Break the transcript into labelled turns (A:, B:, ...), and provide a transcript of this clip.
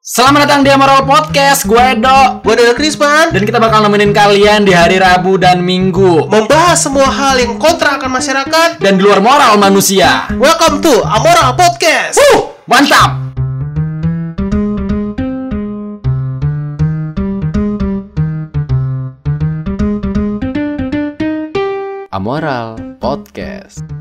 A: Selamat datang di Emerald Podcast, gue Edo
B: Gue Daniel Krisman
A: Dan kita bakal nemenin kalian di hari Rabu dan Minggu
B: Membahas semua hal yang kontra akan masyarakat
A: Dan di luar moral manusia
B: Welcome to Amoral Podcast
A: Wuh, mantap! Amoral Podcast